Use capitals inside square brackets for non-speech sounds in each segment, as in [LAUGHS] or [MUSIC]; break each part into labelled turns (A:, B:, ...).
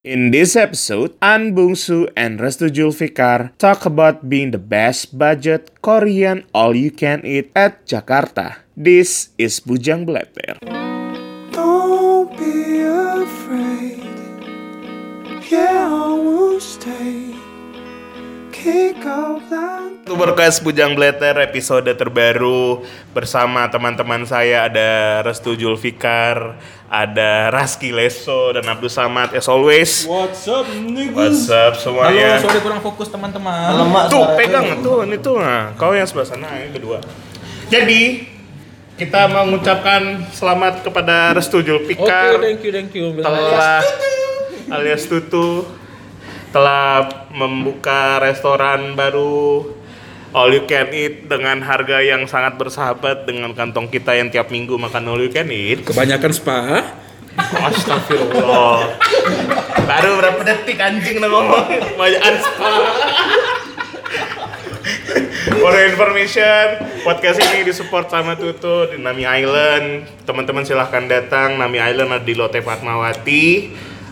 A: In this episode, An Bungsu and Restu Julfikar talk about being the best budget Korean all you can eat at Jakarta. This is Bujang Blatter.
B: Don't be afraid. Yeah, I will stay. Kick off that.
A: Tuberkas Bujang Blatter episode terbaru bersama teman-teman saya ada Restu Julfikar, ada Raski Leso dan Abdul Samad as always.
C: What's ya? up,
A: What's
C: niggas?
A: up
C: Halo,
A: semuanya?
C: sorry kurang fokus teman-teman.
A: tuh pegang tuh ini tuh nah. kau yang sebelah sana yang kedua jadi kita mau mengucapkan selamat kepada Restu
C: Oke,
A: Julfikar
C: thank you, thank you.
A: telah alias Tutu telah membuka restoran baru All You Can Eat dengan harga yang sangat bersahabat dengan kantong kita yang tiap minggu makan All You Can Eat.
C: Kebanyakan spa.
A: Astagfirullah. Oh. Baru berapa detik anjing udah ngomong banyak spa. For your information, podcast ini disupport sama Tutu di Nami Island. Teman-teman silahkan datang. Nami Island ada di Lotte Fatmawati.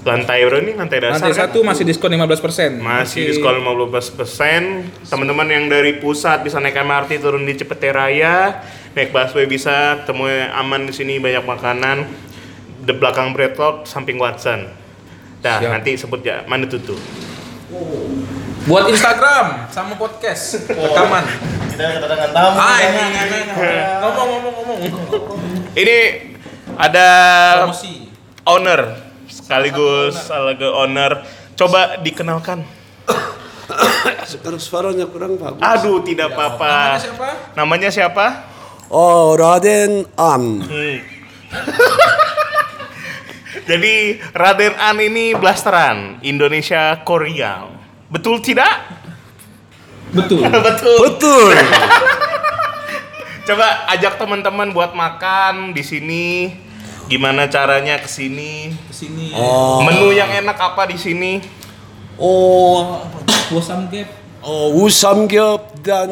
A: Lantai berapa nih? Lantai dasar
C: Lantai
A: kan?
C: satu masih diskon 15%.
A: Masih diskon 15%. Teman-teman yang dari pusat bisa naik MRT turun di Cipete Raya, naik busway bisa, ketemu aman di sini banyak makanan. Di belakang Breadlog, samping Watson. Dah,
C: Siap.
A: nanti sebut ya, mana tuh tuh?
C: Buat Instagram sama podcast rekaman.
D: Kita kedatangan tamu.
C: Ah,
D: kan?
C: ini, ini, ini, ini. Eh. Ngomong, ngomong, ngomong.
A: Ini ada
C: Promosi.
A: owner sekaligus alaga owner. Coba dikenalkan.
B: Terus suaranya kurang bagus.
A: Aduh, tidak apa-apa.
C: Namanya siapa?
A: Namanya siapa?
B: Oh, Raden Am.
A: Hmm. [LAUGHS] Jadi Raden An ini blasteran Indonesia Korea. Betul tidak?
C: Betul.
A: Betul.
B: Betul.
A: Coba ajak teman-teman buat makan di sini. Gimana caranya ke sini?
C: Kesini.
B: Oh,
A: Menu yang enak apa di sini?
B: oh,
C: Bosan gap.
B: oh usamgyeop dan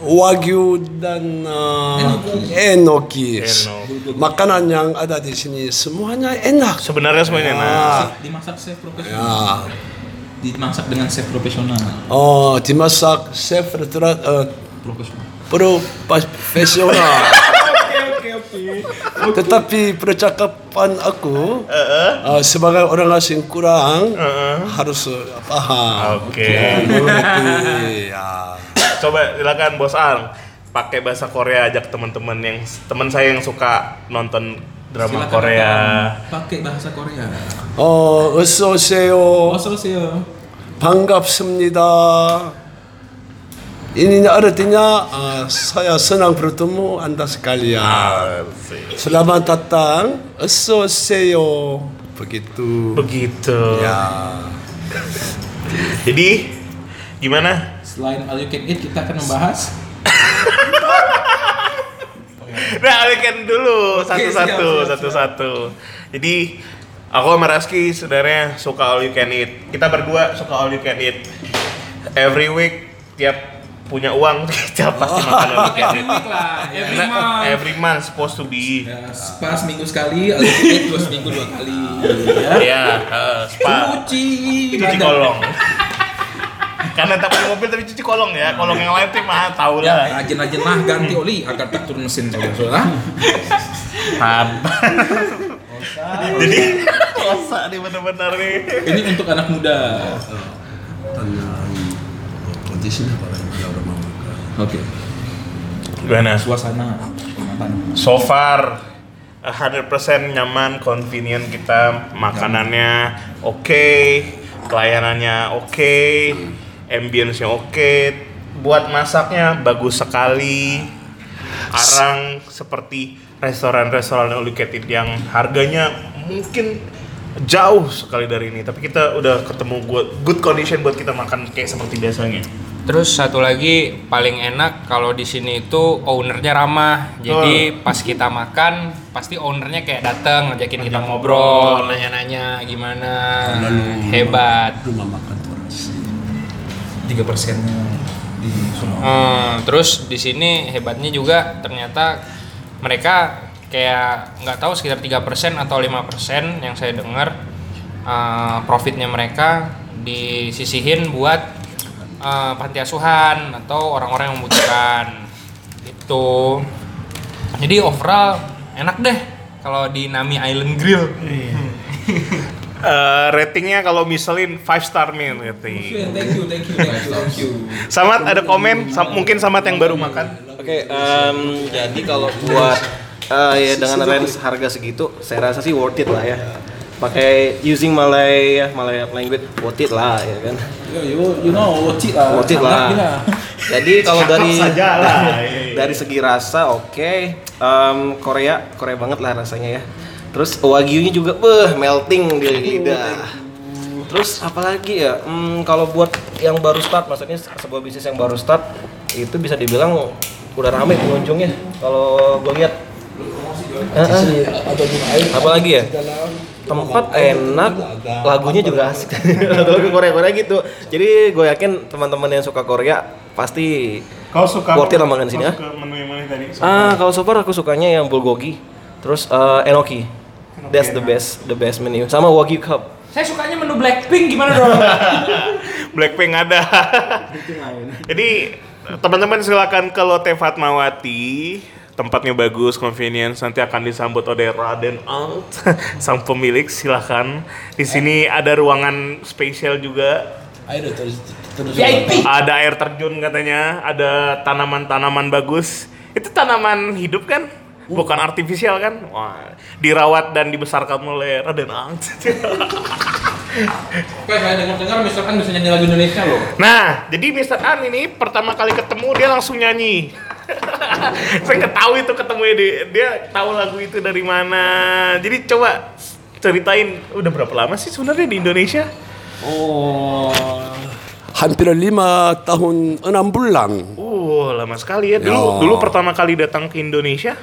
B: wagyu dan uh, enoki.
A: Enoki.
B: Makanan yang ada di sini semuanya enak.
A: Sebenarnya semuanya enak.
B: Ah,
C: Dimasak chef profesional.
B: ya.
C: Dimasak dengan chef profesional.
B: Oh, dimasak chef restoran eh,
C: Profesional.
B: profesional. Tetapi percakapan aku uh, sebagai orang asing kurang harus uh, paham.
A: Oke.
B: Mengerti, ya.
A: Coba silakan Bos Ang pakai bahasa Korea ajak teman-teman yang teman saya yang suka nonton drama
C: Silakan
A: Korea.
C: makan. Pakai bahasa Korea.
B: Oh, 어서오세요.
C: Bosan sih. eh,
B: 반갑습니다. Ini artinya uh, saya senang bertemu anda sekalian. Selamat datang. 어서오세요. Begitu.
A: Begitu.
B: Ya.
A: Jadi gimana?
C: Selain all you can eat, kita akan membahas
A: Nah, alihkan dulu
C: Oke,
A: satu-satu,
C: siap, siap,
A: satu-satu. Jadi aku sama Raski sebenarnya suka all you can eat. Kita berdua suka all you can eat. Every week tiap punya uang [LAUGHS] kita pasti makan all you can [LAUGHS]
C: every
A: eat.
C: week [LAUGHS] lah, every
A: Nah,
C: month.
A: every month supposed to be.
C: Ya, spa seminggu sekali, alokasi dua seminggu dua kali.
A: Ya,
C: Ya.
A: eh, spa,
C: Cuci,
A: cuci kolong. [LAUGHS] Karena tak punya mobil tapi cuci kolong ya. Kolong yang lain tuh mah tahu
D: Ya.
A: lah.
C: Rajin-rajin lah ganti oli agar tak turun mesin saudara-saudara.
A: [LAUGHS] Sabar. Jadi, kosa nih bener-bener nih.
C: Ini untuk anak muda.
B: kondisinya kalau ada orang mau makan.
C: Oke.
A: Gimana?
C: Suasana Kalimantan.
A: So far 100% nyaman, convenient kita, makanannya oke, pelayanannya oke, ambience-nya oke. Buat masaknya bagus sekali. Arang seperti restoran-restoran all you can eat yang harganya mungkin jauh sekali dari ini, tapi kita udah ketemu good, good condition buat kita makan kayak seperti biasanya.
E: Terus satu lagi paling enak kalau di sini itu ownernya ramah. Jadi pas kita makan pasti ownernya kayak datang ngajakin kita ngobrol, nanya-nanya gimana. Hebat.
B: Rumah makan terasi.
C: Tiga persennya di Sumatera.
E: Hmm, terus di sini hebatnya juga ternyata mereka kayak nggak tahu sekitar 3% atau 5% yang saya dengar eh, profitnya mereka disisihin buat eh, panti asuhan atau orang-orang yang membutuhkan itu jadi overall enak deh kalau di Nami Island Grill
A: Eh, ratingnya kalau misalin 5 star min rating.
C: Thank you, thank you, thank you, thank you.
A: Samat ada komen Sam- mungkin Samat yang baru makan.
D: Oke, em, jadi kalau buat eh, ya dengan range harga segitu, saya rasa sih worth it lah ya. Pakai using Malay Malay language worth it lah ya kan.
C: Yo, You, you know, worth it lah.
D: Worth it
C: Sangat
D: lah.
C: gila.
D: Jadi kalau dari
A: Cakep saja lah. Iya, iya.
D: [LAUGHS] dari segi rasa oke, Em, Korea Korea banget lah rasanya ya. Terus wagyunya juga beh melting di lidah. Terus apalagi ya? Hmm, kalau buat yang baru start, maksudnya sebuah bisnis yang baru start itu bisa dibilang udah rame pengunjungnya kalau gue lihat. Eh, eh. Apalagi ya? Tempat enak, lagunya juga asik. [LAUGHS] Lagu Korea-Korea gitu. Jadi gue yakin teman-teman yang suka Korea pasti
A: Kau suka
D: Worth it lah makan sini,
A: kau
D: ah?
A: suka menu yang mana tadi?
D: Ah, kalau so far aku sukanya yang bulgogi, terus eh, enoki. That's the best, the best menu. Sama wagyu cup.
E: saya sukanya menu Blackpink gimana dong
A: Blackpink [LAUGHS] ada. Jadi teman-teman silakan ke Lotte Fatmawati tempatnya bagus, convenience, nanti akan disambut oleh Raden Ant, [LAUGHS] sang pemilik, silakan. Di sini ada ruangan spesial juga,
B: Ayo terus terus.
E: VIP
A: ada air terjun katanya, ada tanaman-tanaman bagus. Itu tanaman hidup kan?
B: Uh.
A: Bukan artifisial kan? Wah, dirawat dan dibesarkan oleh Raden Ant.
C: Oke, saya dengar-dengar Mr. An bisa nyanyi lagu Indonesia loh.
A: Nah, jadi Mr. An ini pertama kali ketemu dia langsung nyanyi. [LAUGHS] Saya ketahui itu ketemu dia, dia tahu lagu itu dari mana. Jadi coba ceritain udah berapa lama sih sebenarnya di Indonesia?
B: Hampir lima tahun enam bulan.
A: Uh, lama sekali ya. Dulu
B: Ya.
A: dulu pertama kali datang ke Indonesia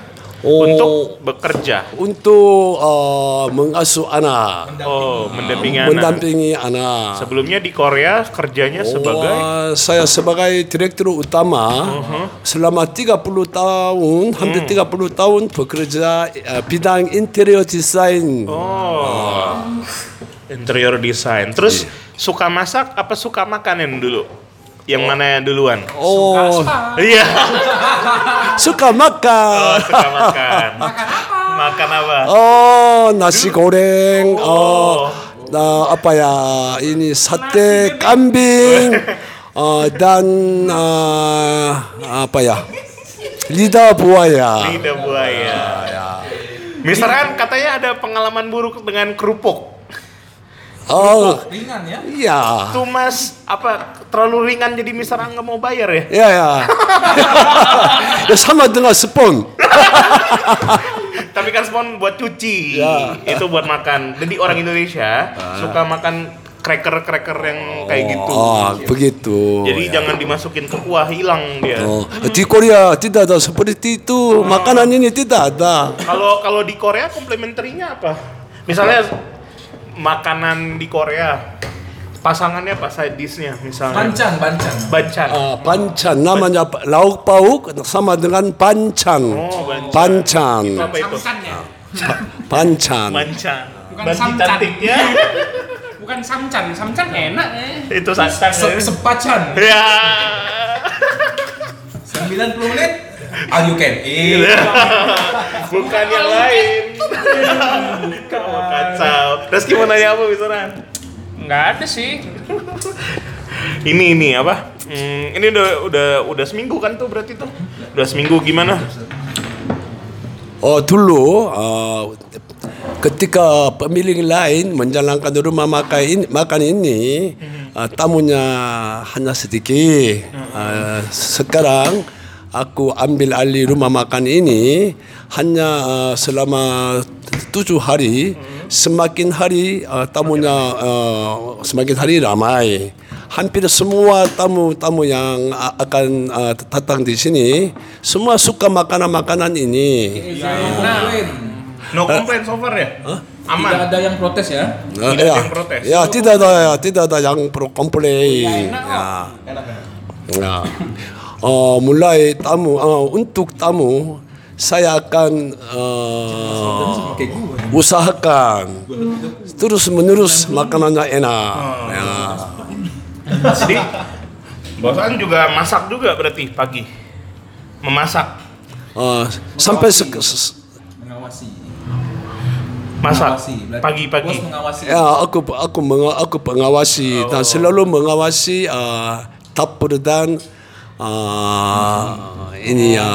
B: Oh.
A: untuk bekerja.
B: Untuk eh, mengasuh anak,
A: Oh, mendampingi anak.
B: mendampingi Oh, anak.
A: Sebelumnya di Korea kerjanya sebagai
B: Wah, saya sebagai direktur utama selama 30 tahun, hampir
A: Hmm.
B: 30 tahun bekerja eh, bidang interior design.
A: Oh. Interior design. Terus suka masak apa suka makanan dulu? Yang mana duluan?
B: Oh,
A: Iya. Oh,
B: suka makan.
A: suka makan. Makan apa? Makan apa?
B: Oh, nasi goreng. Oh, nah, apa ya? Ini sate
A: [LAUGHS]
B: kambing. Oh, dan ah, apa ya? Lidah buaya.
A: Lidah buaya. Mister An katanya ada pengalaman buruk dengan kerupuk.
B: Oh,
C: Ringan ya.
B: iya.
A: Tuh mas, apa terlalu ringan jadi Mister An nggak mau bayar ya?
B: Ya, ya. [LAUGHS] ya sama dengan spon.
A: Tapi kan spon buat cuci,
B: Ya. Ah.
A: itu buat makan. Jadi orang Indonesia suka makan cracker-cracker yang kayak gitu.
B: Oh, begitu.
A: Jadi jangan dimasukin ke kuah, hilang dia.
B: Oh, di Korea tidak ada seperti itu. Makanan ini tidak ada.
A: Kalau kalau di Korea komplementerinya apa? Misalnya makanan di Korea pasangannya apa side dish-nya misalnya?
C: Bancang, bancang.
A: Bancan.
B: Ah, Bancan namanya pa- lauk pauk sama dengan bancan.
A: Oh, bancan.
B: bancan.
A: Itu apa itu?
E: Samsan ya
B: Bancan.
A: Bancan.
E: Bukan
A: Banci
E: samcan.
A: cantiknya.
E: bukan Samchan Samchan enak eh
A: itu santan.
C: Se Sepacan.
A: ya.
C: 90 menit. Iya. All Ah, you can eat.
A: Bukan yang lain. Kamu kacau. Terus gimana ya apa misalnya?
E: nggak ada sih
A: Ini ini apa? Hmm, ini udah udah udah seminggu kan tuh berarti tuh. Udah seminggu gimana?
B: Oh dulu ah, ketika pemilik lain menjalankan rumah makan ini, makan ini ah, tamunya hanya sedikit. Ah, sekarang aku ambil alih rumah makan ini hanya ah, selama tujuh hari. Semakin hari ah, tamunya ah, semakin hari ramai. Hampir semua tamu-tamu yang a- akan ah, datang di sini semua suka makanan-makanan ini.
C: Ya, Iya. Komplain.
A: No complaint so far ya? Aman.
C: Tidak ada yang protes ya.
B: Tidak
A: ada yang protes.
B: Ya, tidak ada ya, tidak ada yang pro komplain. Ya. Ya. Oh, mulai tamu oh, untuk tamu saya akan eh,
C: Pakai gua.
B: usahakan terus menerus makanannya enak.
A: Oh.
B: Ya.
A: Jadi Bos An juga masak juga berarti pagi. Memasak,
B: Eh, sampai sek- s-
C: Mengawasi.
A: masak
C: Mengawasi. Berarti
A: pagi-pagi.
C: Bos mengawasi.
B: ya aku aku menga- aku pengawasi dan selalu mengawasi eh, dapur dan eh, ini ya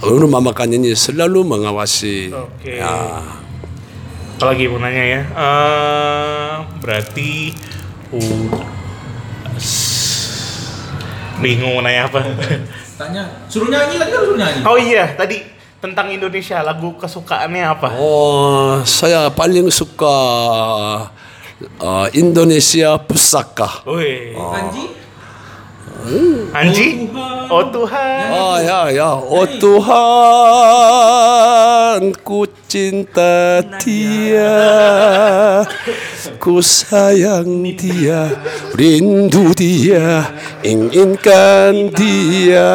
B: eh, rumah makan ini selalu mengawasi.
A: Oke.
B: Ya.
A: Apa lagi mau nanya ya? Eh, berarti uh, udah bingung mau nanya apa?
C: Tanya, suruh nyanyi lagi kan suruh nyanyi.
A: oh iya, tadi tentang Indonesia lagu kesukaannya apa?
B: Oh, saya paling suka uh, Indonesia Pusaka.
A: Wih.
C: Anji,
A: Anji? Oh Tuhan.
B: Oh ya ya, oh Tuhan, ku cinta dia, ku sayang dia, rindu dia, inginkan dia.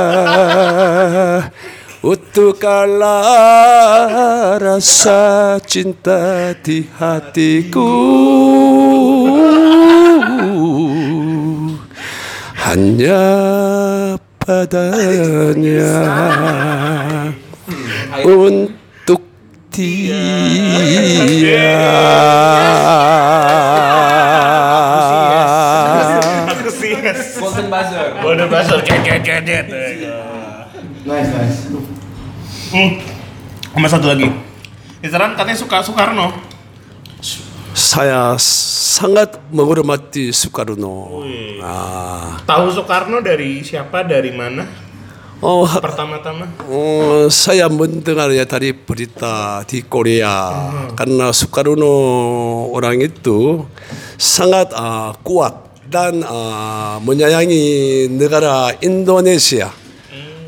B: Utuhkanlah rasa cinta di hatiku. hanya padanya untuk dia.
A: Oh Aku sih.
C: Golden Buzzer.
A: Bodoh buzzer. Cet, cet, cet, cet.
D: Nice, nice.
A: Hmm. Sama satu lagi. Isaran katanya suka Soekarno.
B: Saya sangat menghormati Soekarno. Ah.
A: Tahu Soekarno dari siapa, dari mana?
B: Oh, ha-
A: Pertama-tama.
B: oh, saya mendengar ya dari berita di Korea karena Soekarno orang itu sangat ah, kuat dan ah, menyayangi negara Indonesia.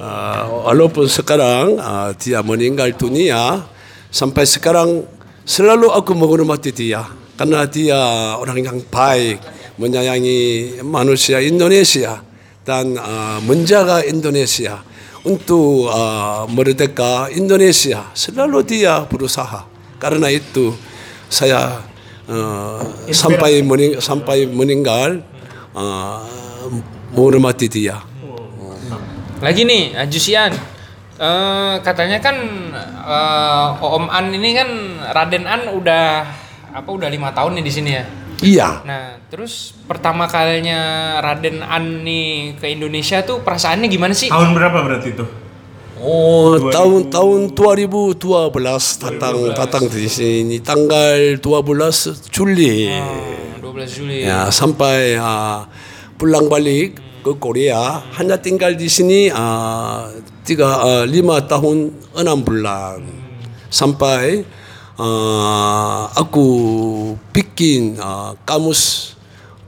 B: Ah, walaupun sekarang ah, dia meninggal dunia, sampai sekarang selalu aku menghormati dia karena dia orang yang baik, menyayangi manusia Indonesia dan ah, menjaga Indonesia untuk ah, merdeka Indonesia. Selalu dia berusaha. Karena itu saya ah, sampai mening- sampai meninggal ah, menghormati dia.
E: Lagi nih, ah, Jusian. Eh, katanya kan eh, Om An ini kan Raden An udah apa udah lima tahun nih di sini ya.
B: Iya.
E: Nah, terus pertama kalinya Raden An nih ke Indonesia tuh perasaannya gimana sih?
A: Tahun berapa berarti itu?
B: Oh, tahun tahun 2012 datang datang di sini tanggal 12 Juli.
E: Hmm, 12 Juli.
B: Ya, sampai ah, pulang balik ke Korea hanya tinggal di sini ah, tiga ah, lima tahun enam bulan sampai ah, aku bikin ah, kamus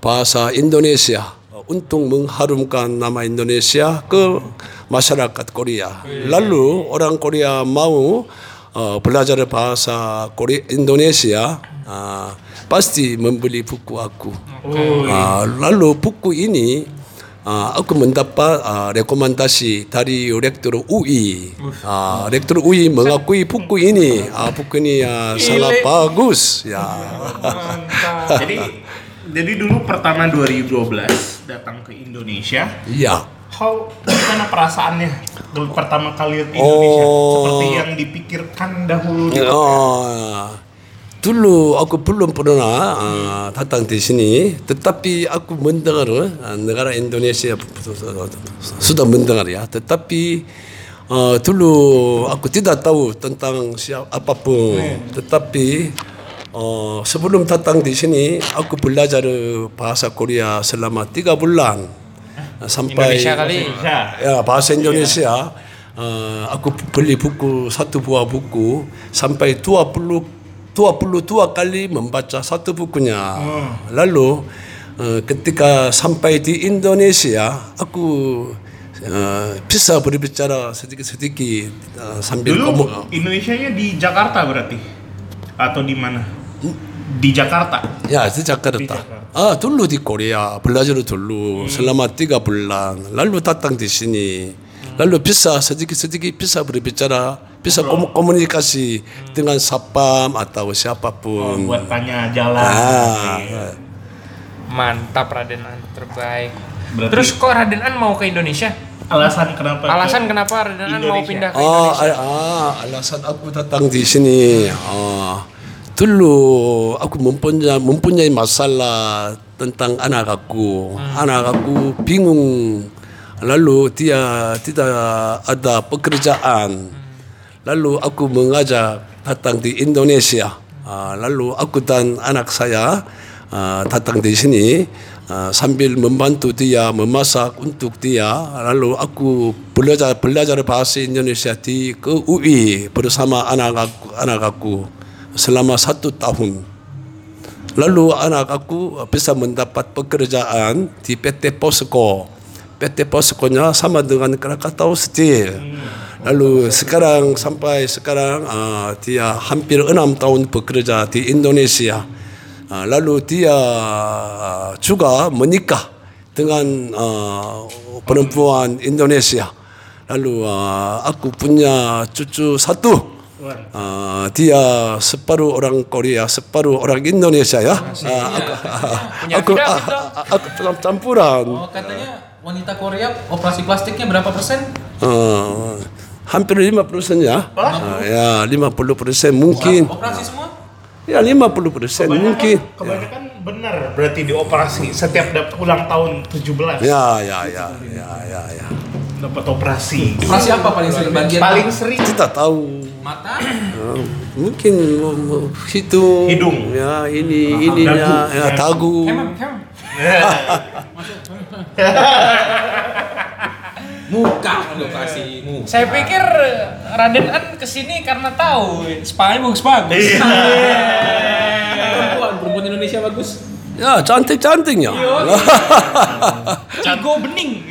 B: bahasa Indonesia untuk mengharumkan nama Indonesia ke masyarakat Korea. Lalu orang Korea mau uh, belajar bahasa Korea Indonesia uh, pasti membeli buku aku. Uh, lalu buku ini uh, aku mendapat uh, rekomendasi dari rektor UI. Uh, rektor UI mengakui buku ini. Uh, buku ini uh, sangat bagus ya. [LAUGHS]
A: jadi jadi dulu pertama 2012 datang ke Indonesia.
B: Iya.
A: How gimana perasaannya dulu pertama kali ke Indonesia?
B: Oh. Iya.
A: Seperti yang dipikirkan dahulu. di-
B: Oh, dulu aku belum pernah ah, datang di sini, tetapi aku mendengar ah, negara Indonesia sudah mendengar ya, tetapi ah, dulu aku tidak tahu tentang siapa apapun, tetapi ah, sebelum datang di sini aku belajar bahasa Korea selama tiga bulan sampai
E: Indonesia kali.
A: Ya.
B: ya bahasa Indonesia uh, aku beli buku satu buah buku sampai 20 22 kali membaca satu bukunya lalu uh, ketika sampai di Indonesia aku uh, bisa berbicara sedikit-sedikit uh, sambil
A: Dulu
B: ngomong
A: Indonesianya di Jakarta berarti atau di mana? Di Jakarta.
B: Ya, di Jakarta. Ah, dulu di Korea, belajar dulu selama tiga bulan. Lalu datang di sini. lalu bisa sedikit-sedikit bisa berbicara, bisa komu- komunikasi dengan satpam atau siapapun.
A: buat tanya jalan.
B: Hmm. Ah,
A: Iya.
E: Mantap Raden An, terbaik.
A: Berarti-
E: Terus kok Raden An mau ke Indonesia?
A: Alasan kenapa?
E: Alasan kenapa Raden An mau
A: Indonesia.
E: pindah ke
B: Oh,
E: Indonesia?
B: ah, ah, alasan aku datang di sini. Ah, dulu aku mempunyai, mempunyai masalah tentang anak aku. Anak aku bingung. Lalu dia tidak ada pekerjaan. Lalu aku mengajak datang di Indonesia. Ah, lalu aku dan anak saya ah, datang di sini ah, sambil membantu dia memasak untuk dia. Lalu aku belajar belajar bahasa Indonesia di ke UI bersama anak aku, anak aku selama satu tahun. Lalu anak aku bisa mendapat pekerjaan di PT Posko. PT Poskonya sama dengan Krakatau Steel. Lalu sekarang sampai sekarang ah, dia hampir enam tahun bekerja di Indonesia. Ah, lalu dia ah, juga menikah dengan ah, perempuan Indonesia. Lalu ah, aku punya cucu satu. Ah, dia separuh orang Korea, separuh orang Indonesia ya. Ah, aku,
E: Punya
B: aku,
E: kita,
B: ah,
E: kita.
B: ah, aku camp- campuran.
C: Oh, katanya wanita Korea operasi plastiknya berapa persen?
B: Ah, hampir 50 persen ya. Ah, ya 50 persen mungkin.
C: Operasi semua?
B: Ya 50 persen mungkin. Ya.
A: Kebanyakan benar berarti dioperasi setiap dapat ulang tahun 17
B: Ya ya ya ya ya ya.
A: dapat operasi.
C: Operasi apa paling sering bagian?
A: Paling sering
B: Kita tahu
C: mata.
B: ah, mungkin mu- mu- hidung,
A: Hidung.
B: ya ini ininya
A: dagu.
B: ya, tagu.
E: Emang, emang.
C: Muka operasi muka.
E: Saya pikir Raden An kesini karena tahu Iya. Spanya bagus-bagus.
C: Perempuan, perempuan Indonesia bagus.
B: Ya cantik cantiknya.
E: [LAUGHS]
B: [LAUGHS]
E: Jago bening.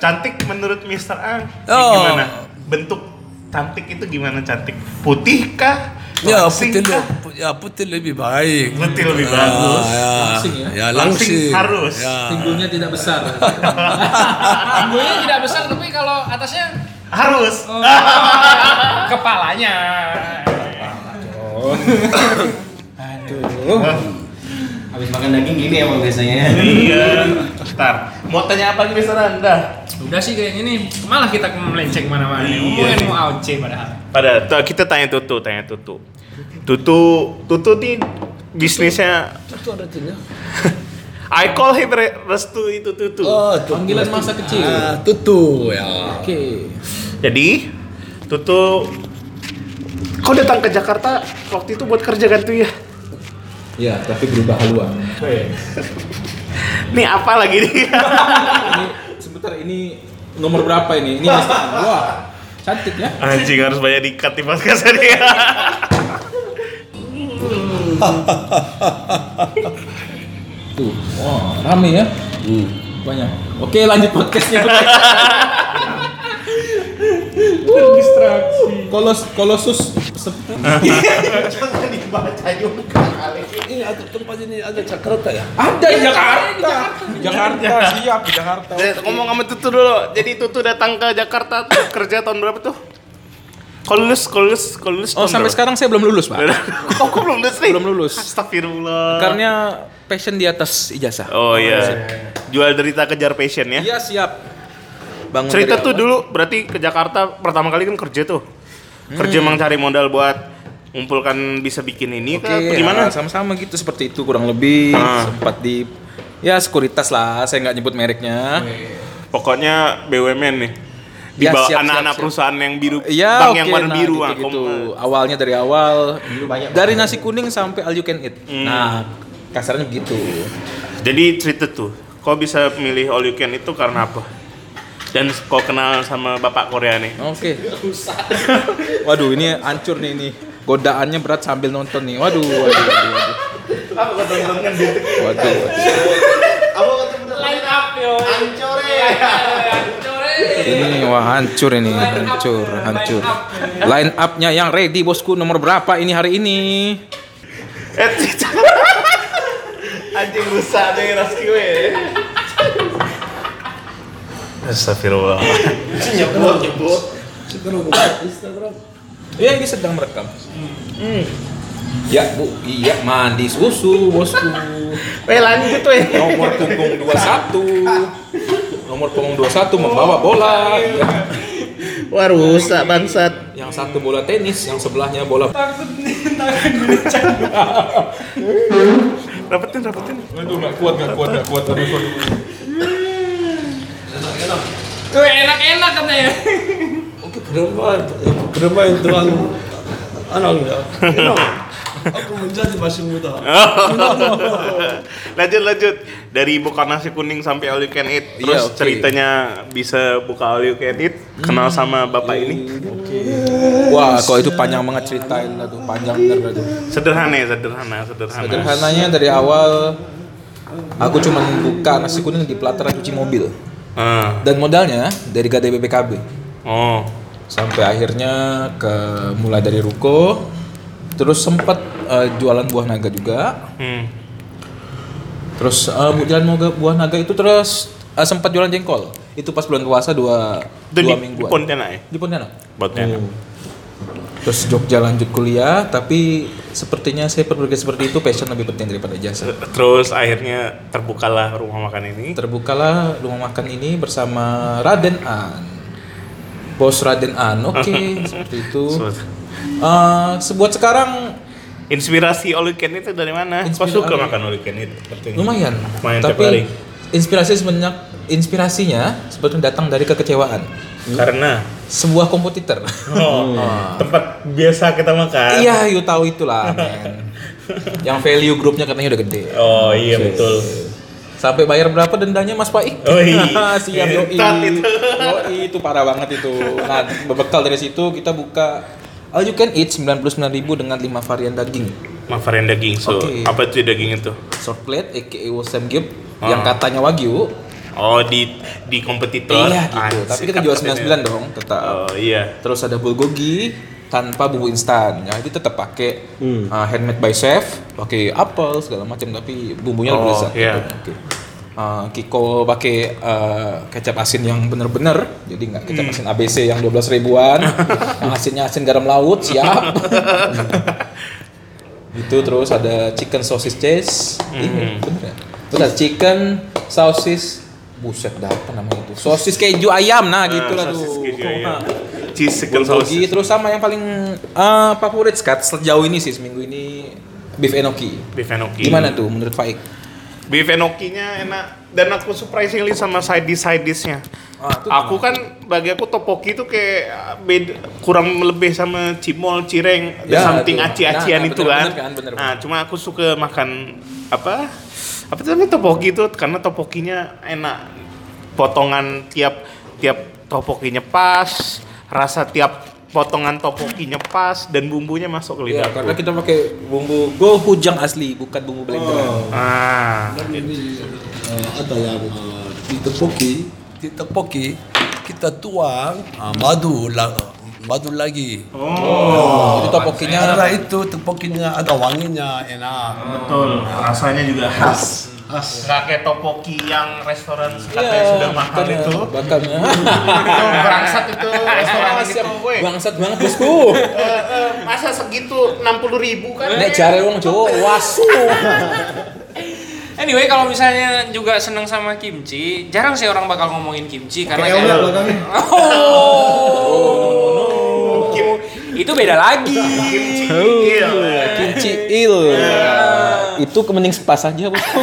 A: cantik menurut Mr. Ang. Ini
B: Oh.
A: Gimana? Bentuk cantik itu gimana cantik? Putih kah?
B: Ya
A: Langsing
B: putih,
A: kah?
B: le- pu- ya putih lebih baik.
A: Putih lebih bagus.
B: ya,
C: Langsing ya?
B: ya
A: Langsing
B: langsing.
A: harus.
B: Ya.
C: Pinggulnya tidak besar.
E: Tanggulnya tidak besar tapi kalau atasnya oh,
A: Harus.
E: [LAUGHS]
B: Oh.
E: kepalanya.
D: Habis makan daging gini emang biasanya.
A: iya. Ntar. Mau tanya apa lagi Mr. Anda?
E: Udah sih kayaknya nih malah kita melenceng mana-mana.
A: Iya.
E: Mungkin mau AOC padahal.
A: Pada t- kita tanya Tutu, tanya Tutu. Tutu, Tutu nih bisnisnya
B: Itu ada tuh ya.
A: [LAUGHS] I call him re- restu itu Tutu.
B: Oh, tutu.
C: Panggilan masa kecil.
B: Ah, tutu ya.
C: [LAUGHS] Oke.
A: Jadi, Tutu kau datang ke Jakarta waktu itu buat kerja kan tuh ya?
C: Ya, tapi berubah haluan.
A: Oh, iya. [LAUGHS] Nih apa lagi nih?
C: Ini sebentar ini nomor berapa ini? Ini Mr. Ang. Wah, cantik ya.
A: [LAUGHS] Anjing harus banyak dikat di podcast ini.
C: Tuh, wah, rame ya.
B: Hmm.
C: Banyak. Oke, lanjut podcastnya. Distraksi. Kalau kalau sus se-
A: Jangan dibaca juga kali.
B: Ini ada tempat ini ada Jakarta ya.
C: ada di Jakarta. Jakarta siap di Jakarta.
A: ngomong sama Tutu dulu. Jadi Tutu datang ke Jakarta tuh kerja tahun berapa tuh? Kau lulus, kau lulus, kau lulus
C: Oh,
A: tahun
C: sampai
A: berapa?
C: sekarang saya belum lulus, Pak.
A: [LAUGHS] oh, kau belum lulus nih?
C: Belum lulus.
A: Astagfirullah.
C: Karena passion di atas ijazah.
A: Oh iya. Jual derita kejar passion ya.
C: Iya, siap. Bangun
A: Cerita
C: dari
A: tuh
C: awal.
A: dulu berarti ke Jakarta pertama kali kan kerja tuh. Kerja
C: Hmm.
A: emang cari modal buat ngumpulkan bisa bikin ini
C: Oke,
A: kah? Apa
C: ya,
A: gimana?
C: sama-sama gitu seperti itu kurang lebih
A: Ah.
C: sempat di ya sekuritas lah, saya nggak nyebut mereknya.
A: Pokoknya BUMN nih. Di
C: Ya,
A: bawah
C: siap,
A: anak-anak
C: siap, siap.
A: perusahaan yang biru,
C: Iya,
A: bank
C: oke.
A: yang warna
C: nah,
A: biru ah,
C: gitu,
A: aku
C: gitu.
A: mah.
C: Awalnya dari awal
D: banyak
C: dari nasi kuning sampai all you can eat.
A: Hmm.
C: Nah, kasarnya gitu. begitu.
A: Jadi cerita tuh, kau bisa milih all you can itu karena apa? Dan kau kenal sama bapak Korea nih. [LAUGHS]
C: Oke. Waduh, ini hancur nih ini. Godaannya berat sambil nonton nih. Waduh, waduh, waduh. waduh. Waduh, waduh.
E: Line up yo. Iya,
C: Ini wah hancur ini, hancur, hancur. Line up-nya yang ready bosku nomor berapa ini hari ini?
A: Eh, cerita. Anjing rusak deh ras gue. Astagfirullah.
D: nyebut nyebut
C: Iya ini sedang merekam.
D: Hmm.
C: Ya bu, iya mandi susu bosku.
D: eh lanjut [LAUGHS] weh
C: Nomor punggung 21 Nomor punggung 21 membawa bola. Ya.
D: wah rusak bangsat
C: Yang satu bola tenis, yang sebelahnya bola.
A: Dapetin, dapetin.
C: Aduh nggak kuat nggak kuat nggak kuat aduh, aduh.
E: Tuh enak-enak katanya.
B: 그런 말 그런 말 들어가는 안 합니다. 그냥 아까 문제하지 마십니다.
A: [LAUGHS] lanjut lanjut dari buka nasi kuning sampai all you can eat terus
C: Iya, oke. Hmm.
A: ceritanya bisa buka all you can eat kenal sama bapak ini
C: Wah, kok itu panjang banget ceritain aduh panjang bener aduh.
A: sederhana ya sederhana sederhana
C: Sederhananya dari awal aku cuma buka nasi kuning di pelataran cuci mobil
A: Ah.
C: dan modalnya dari Gadai BPKB
A: oh
C: sampai akhirnya ke mulai dari ruko terus sempat eh, jualan buah naga juga
A: hmm.
C: terus eh, jualan moga- buah naga itu terus eh, sempat jualan jengkol itu pas bulan puasa dua
A: itu di,
C: dua
A: di
C: mingguan Hmm.
A: Pontianak ya
C: di Pontianak
A: Pontianak
C: terus Jogja lanjut kuliah tapi sepertinya saya berpikir seperti itu passion lebih penting daripada jasa
A: terus akhirnya terbukalah rumah makan ini
C: Terbukalah rumah makan ini bersama Raden An. Bos Raden An, oke,
A: [LAUGHS]
C: seperti itu. Eh, sebuat sekarang
A: inspirasi all you can eat itu dari mana kok
C: Inspirasi-
A: suka makan all you can eat Sepertinya.
C: lumayan,
A: Lumayan tiap hari.
C: tapi inspirasi sebanyak inspirasinya sebetulnya datang dari kekecewaan
A: karena
C: sebuah kompetitor.
A: oh, tempat biasa kita makan
C: Hmm. Iya, you tahu
A: [LAUGHS]
C: itulah, men. Yang value grupnya katanya udah gede.
A: oh iya betul
C: Sampai bayar berapa dendanya Mas Faik?
A: Oh, iya.
C: [LAUGHS] Siap yoi.
A: Tat itu.
C: Yoi, itu parah banget itu. Nah, berbekal dari situ kita buka All You Can Eat 99.000 dengan 5 varian daging.
A: Mafarin daging so
C: Oke.
A: apa itu daging itu
C: Short plate aka Wosam Gib yang
A: Ah.
C: katanya Wagyu.
A: Oh di di kompetitor.
C: Iya gitu.
A: Anjir,
C: Tapi kita jual
A: katanya.
C: 99 dong tetap.
A: Oh iya.
C: Terus ada bulgogi tanpa bumbu instan. Ya itu tetap pakai uh, handmade by chef, pakai apel segala macam tapi bumbunya lebih
A: Oh,
C: lezat.
A: iya.
C: Oke. Uh, Kiko pakai uh, kecap asin yang bener-bener, jadi nggak kecap
A: Hmm.
C: asin ABC yang 12
A: [LAUGHS]
C: ribuan, yang asinnya asin garam laut, siap. itu terus ada chicken sausage cheese,
A: Hmm.
C: ini bener ya? Terus ada chicken sausage, buset dah apa namanya itu? Sosis keju ayam, nah
A: Ah,
C: gitulah
A: sosis
C: tuh.
A: keju
C: Kok,
A: ayam.
C: nah.
A: Cheese chicken
C: Bulgogi
A: sausage.
C: terus sama yang paling eh, favorit Skat sejauh ini sih seminggu ini beef enoki.
A: Beef enoki.
C: Gimana tuh menurut Faik?
A: Beef enokinya enak dan aku surprisingly sama side dish side dishnya.
C: Ah, itu
A: aku kan bagi aku topoki itu kayak beda, kurang lebih sama cimol, cireng,
C: Ya,
A: something
C: tuh.
A: aci-acian
C: Nah, nah,
A: itu
C: bener,
A: kan.
C: bener kan, bener,
A: Nah, cuma aku suka makan apa? Apa tuh namanya topoki itu karena topokinya enak. Potongan tiap tiap topokinya pas, rasa tiap potongan topokinya pas dan bumbunya masuk ke lidah.
C: Iya, karena
A: aku.
C: kita pakai bumbu gochujang asli bukan bumbu blender.
A: Ah,
B: Eh, 아따양 di 떡볶이 di 떡볶이 kita tuang ah, madu la, madu lagi.
A: Oh.
C: Itu topokinya
B: Karena itu tepoknya ada wanginya enak.
A: betul. Rasanya juga khas. Nggak kayak topoki yang restoran katanya
C: Iya,
A: sudah mahal
C: karena
A: itu.
C: [LAUGHS] Bakarnya.
A: Itu Bangsat itu
C: Iya,
A: restoran
C: Bangsat,
A: itu, weh.
C: Bangsat banget bosku.
A: Eh, eh, masa segitu 60 ribu kan?
C: Nek jare wong Jawa wasu.
E: Anyway, kalau misalnya juga seneng sama kimchi, jarang sih orang bakal ngomongin kimchi karena kayak Oh. Itu beda lagi.
A: Kimchi. Iya.
C: Kimchi il. Itu kemening sepas aja bosku.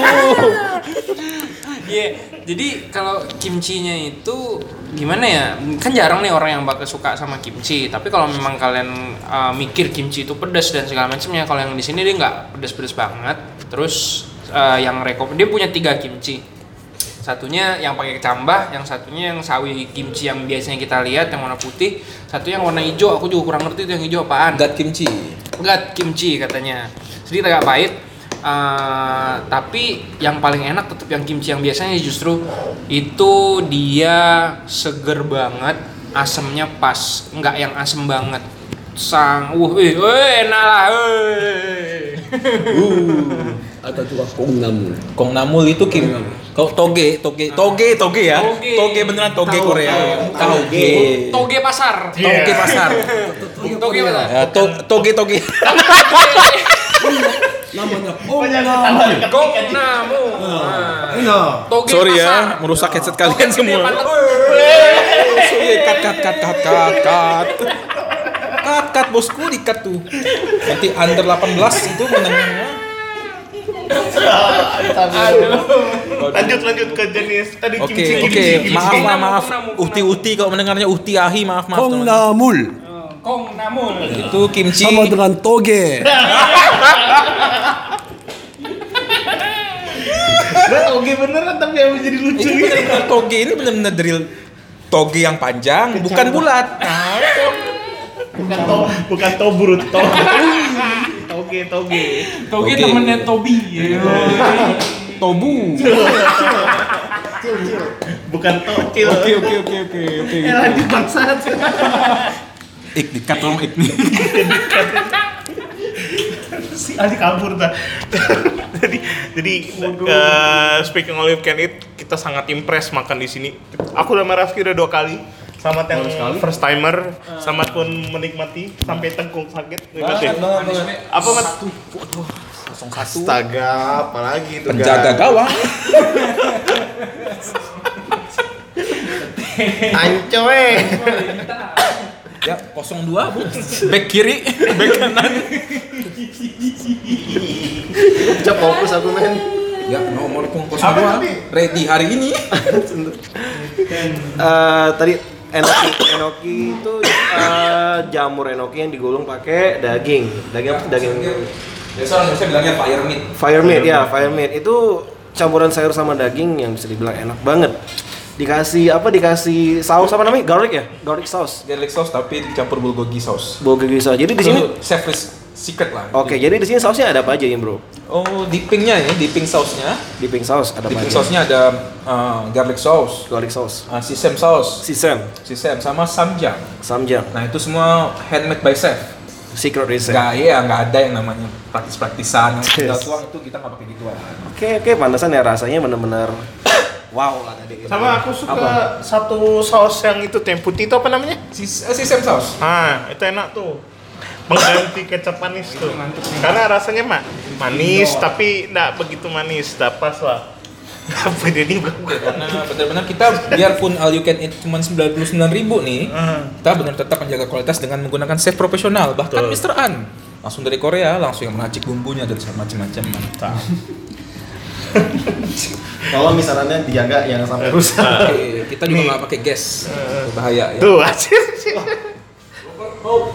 E: Iya. Jadi kalau kimchinya itu gimana ya? Kan jarang nih orang yang bakal suka sama kimchi. Tapi kalau memang kalian uh, mikir kimchi itu pedas dan segala macamnya, kalau yang di sini dia nggak pedas-pedas banget. Terus uh, yang rekom dia punya tiga kimchi. Satunya yang pakai kecambah, yang satunya yang sawi kimchi yang biasanya kita lihat yang warna putih, satu yang warna hijau. Aku juga kurang ngerti itu yang hijau apaan.
C: Dat kimchi.
E: Enggak, kimchi katanya. Sedikit agak pahit. eh, tapi yang paling enak tetap yang kimchi yang biasanya justru itu dia seger banget, asemnya pas, nggak yang asem banget. Sang, uh, wih, wih, enak lah, wih. Uh.
B: Ada juga 콩나물.
C: Kong Namul itu kim To- toge, toge, toge, toge ya. Iya. Toge, beneran toge Korea. Toge.
E: Toge pasar.
C: Toge pasar.
E: Iya. Toge pasar.
C: Ya, to- toge toge.
E: Gong namu. Nah. Toge
C: Sorry ya,
E: pasar.
C: merusak headset kalian
E: Toge
C: semua.
E: pantat.
C: Oh, Sorry, cut cut cut cut cut cut. Cut cut bosku di cut tuh. Nanti under 18 itu menangnya.
A: lanjut lanjut ke jenis tadi
C: Oke,
A: kimchi
C: oke,
A: kimchi kimchi.
C: maaf, maaf, maaf.
E: Kumnam, kumnam.
C: Uhti, uhti, kalau mendengarnya uhti, ahi, maaf, maaf. teman-teman.
B: 콩나물
E: Gong namu.
C: Itu kimchi.
B: sama dengan toge
A: Nah, oke beneran tapi emang jadi lucu
C: Ini
A: gitu.
C: bener-bener toge ini benar-benar drill toge yang panjang, bukan bulat. Nah,
A: bukan to bukan tobrut to toge toge
E: Toge
C: Toge.
E: temennya Tobi.
C: tobu.
A: bukan tocil
C: Oke, oke, oke, oke, oke.
A: eh
C: gitu.
A: lanjut bangsat
C: Ik dikat dong, ik nih.
A: [LAUGHS] si Ali kabur dah jadi jadi eh, speaking all you can eat kita sangat impress makan di sini aku sama Raffi udah dua kali selamat yang first timer selamat pun menikmati sampai tengkung sakit terima kasih apa mat
F: Astaga, apalagi itu Gan?
C: Penjaga gawang.
F: Ancoe.
C: Ya, 02, Bu. Back kiri, back kanan.
F: Cep fokus aku men.
C: Ya, nomor pun 02. Ready hari ini.
D: Eh, tadi enoki enoki itu eh, jamur enoki yang digulung pakai daging daging daging
C: Biasa orang Indonesia Ya, bilangnya fire meat.
D: fire meat ya fire meat itu campuran sayur sama daging yang bisa dibilang enak banget dikasih apa dikasih saus apa namanya garlic ya garlic sauce
C: Garlic sauce tapi dicampur bulgogi sauce.
D: bulgogi sauce jadi di sini
C: Itu chef is secret lah.
D: oke jadi di sini sausnya ada apa aja ya bro
C: Oh, dippingnya ya, dipping sausnya.
D: dipping sauce ada apa
C: Dipping
D: aja
C: sausnya ada uh, garlic sauce,
D: garlic sauce
C: uh, sisem sauce,
D: sisem
C: sisem sama samjang.
D: samjang
C: Nah itu semua handmade by chef.
D: secret recipe
C: Gak ya, nggak ada yang namanya praktis-praktisan. Yang udah tuang itu kita nggak pakai gituan.
D: Oke oke pantesan ya rasanya bener-bener [COUGHS] wow lah tadi.
A: sama aku suka satu saus yang itu tuh yang putih itu apa namanya
C: Sis, eh, sisem sauce.
A: Ah, itu enak tuh. Pengganti kecap manis tuh. Karena rasanya mak manis tapi enggak begitu manis, enggak pas lah. [LAUGHS] Apa dia ini
C: Karena benar-benar kita biarpun all you can eat cuma 99.000 nih, kita benar tetap menjaga kualitas dengan menggunakan chef profesional. Bahkan Mr. An langsung dari Korea langsung yang meracik bumbunya dari segala macam-macam.
F: Kalau misalnya dijaga
D: ya
F: yang sampai rusak.
C: Oke, kita juga nggak pakai gas, bahaya ya.
A: Tuh, anjir.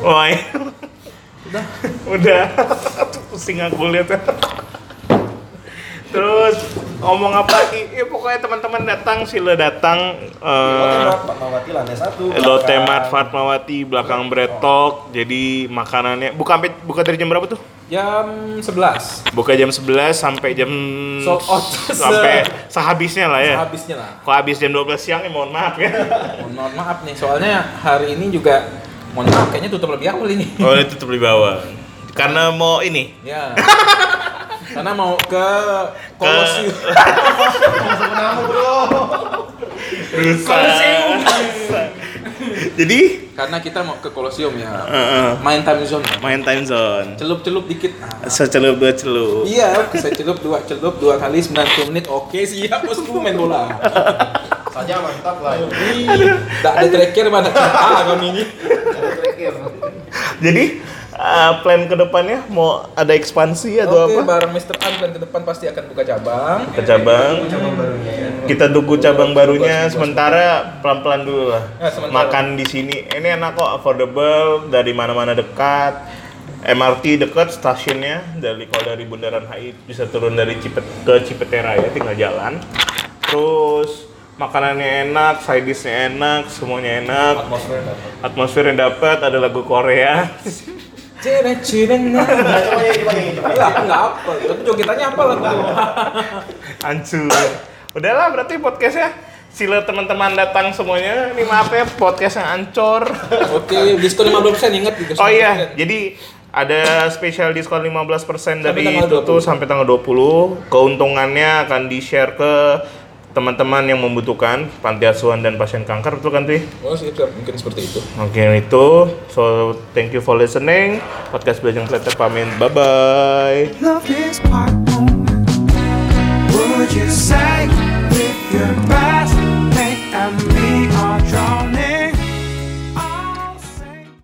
A: Wah. iya. Udah. Udah. Pusing aku lihat. Terus ngomong apa lagi? Ya pokoknya teman-teman datang, sila datang. eh,
D: Fatmawati lantai satu.
A: Lotte Mart Fatmawati belakang Bretok. Jadi makanannya buka sampai- buka dari jam berapa tuh?
C: Jam 11.
A: Buka jam 11 sampai jam
C: Sold
A: oh,
C: out.
A: sampai sehabisnya lah ya.
C: habisnya lah.
A: Kalau habis jam 12 siang ya mohon maaf ya.
C: Mohon mohon maaf nih, soalnya hari ini juga mohon maaf kayaknya tutup lebih awal ini.
A: Oh, itu tutup di bawah. Karena mau ini.
C: Ya. Karena mau ke Kolosium.
A: Rusak. Jadi
C: Karena kita mau ke Kolosium ya.
A: eh,
C: Main time zone.
A: eh, main time zone.
C: Celup-celup dikit. Nah.
A: Secelup dua celup.
C: Iya, saya celup dua celup dua kali 90 menit. Oke, siap bosku main bola.
F: Saja mantap lah. itu.
C: Enggak ada tracker mana kita kami ini.
A: Jadi eh, plan kedepannya mau ada ekspansi atau apa?
C: Oke, bareng Mr. An dan ke depan pasti akan buka cabang.
A: Ke cabang. Kita tunggu cabang barunya sementara pelan-pelan dulu lah.
C: Ya, sementara.
A: Makan di sini ini enak kok affordable dari mana-mana dekat. MRT dekat stasiunnya dari kalau dari Bundaran HI bisa turun dari Cipet ke Cipetera ya tinggal jalan. Terus makanannya enak, side dishnya enak, semuanya enak. Atmosfer yang dapat ada lagu Korea.
C: Cina cina. nah. Lah, aku enggak apa. Tapi jogetannya apa lah
A: Hancur. Udahlah berarti podcastnya sila teman-teman datang semuanya. Ini maaf ya podcast yang ancur.
C: Oke, diskon 15% ingat diskon.
A: Oh iya, jadi ada spesial diskon 15% dari
C: tanggal
A: Tutu sampai tanggal 20. Keuntungannya akan di-share ke teman-teman yang membutuhkan panti asuhan dan pasien kanker betul kan Twi?
C: Oh sih, Sir. mungkin seperti itu.
A: Oke itu so thank you for listening podcast Belajar Kleter pamit bye bye
G: Love is part moment. Would you say?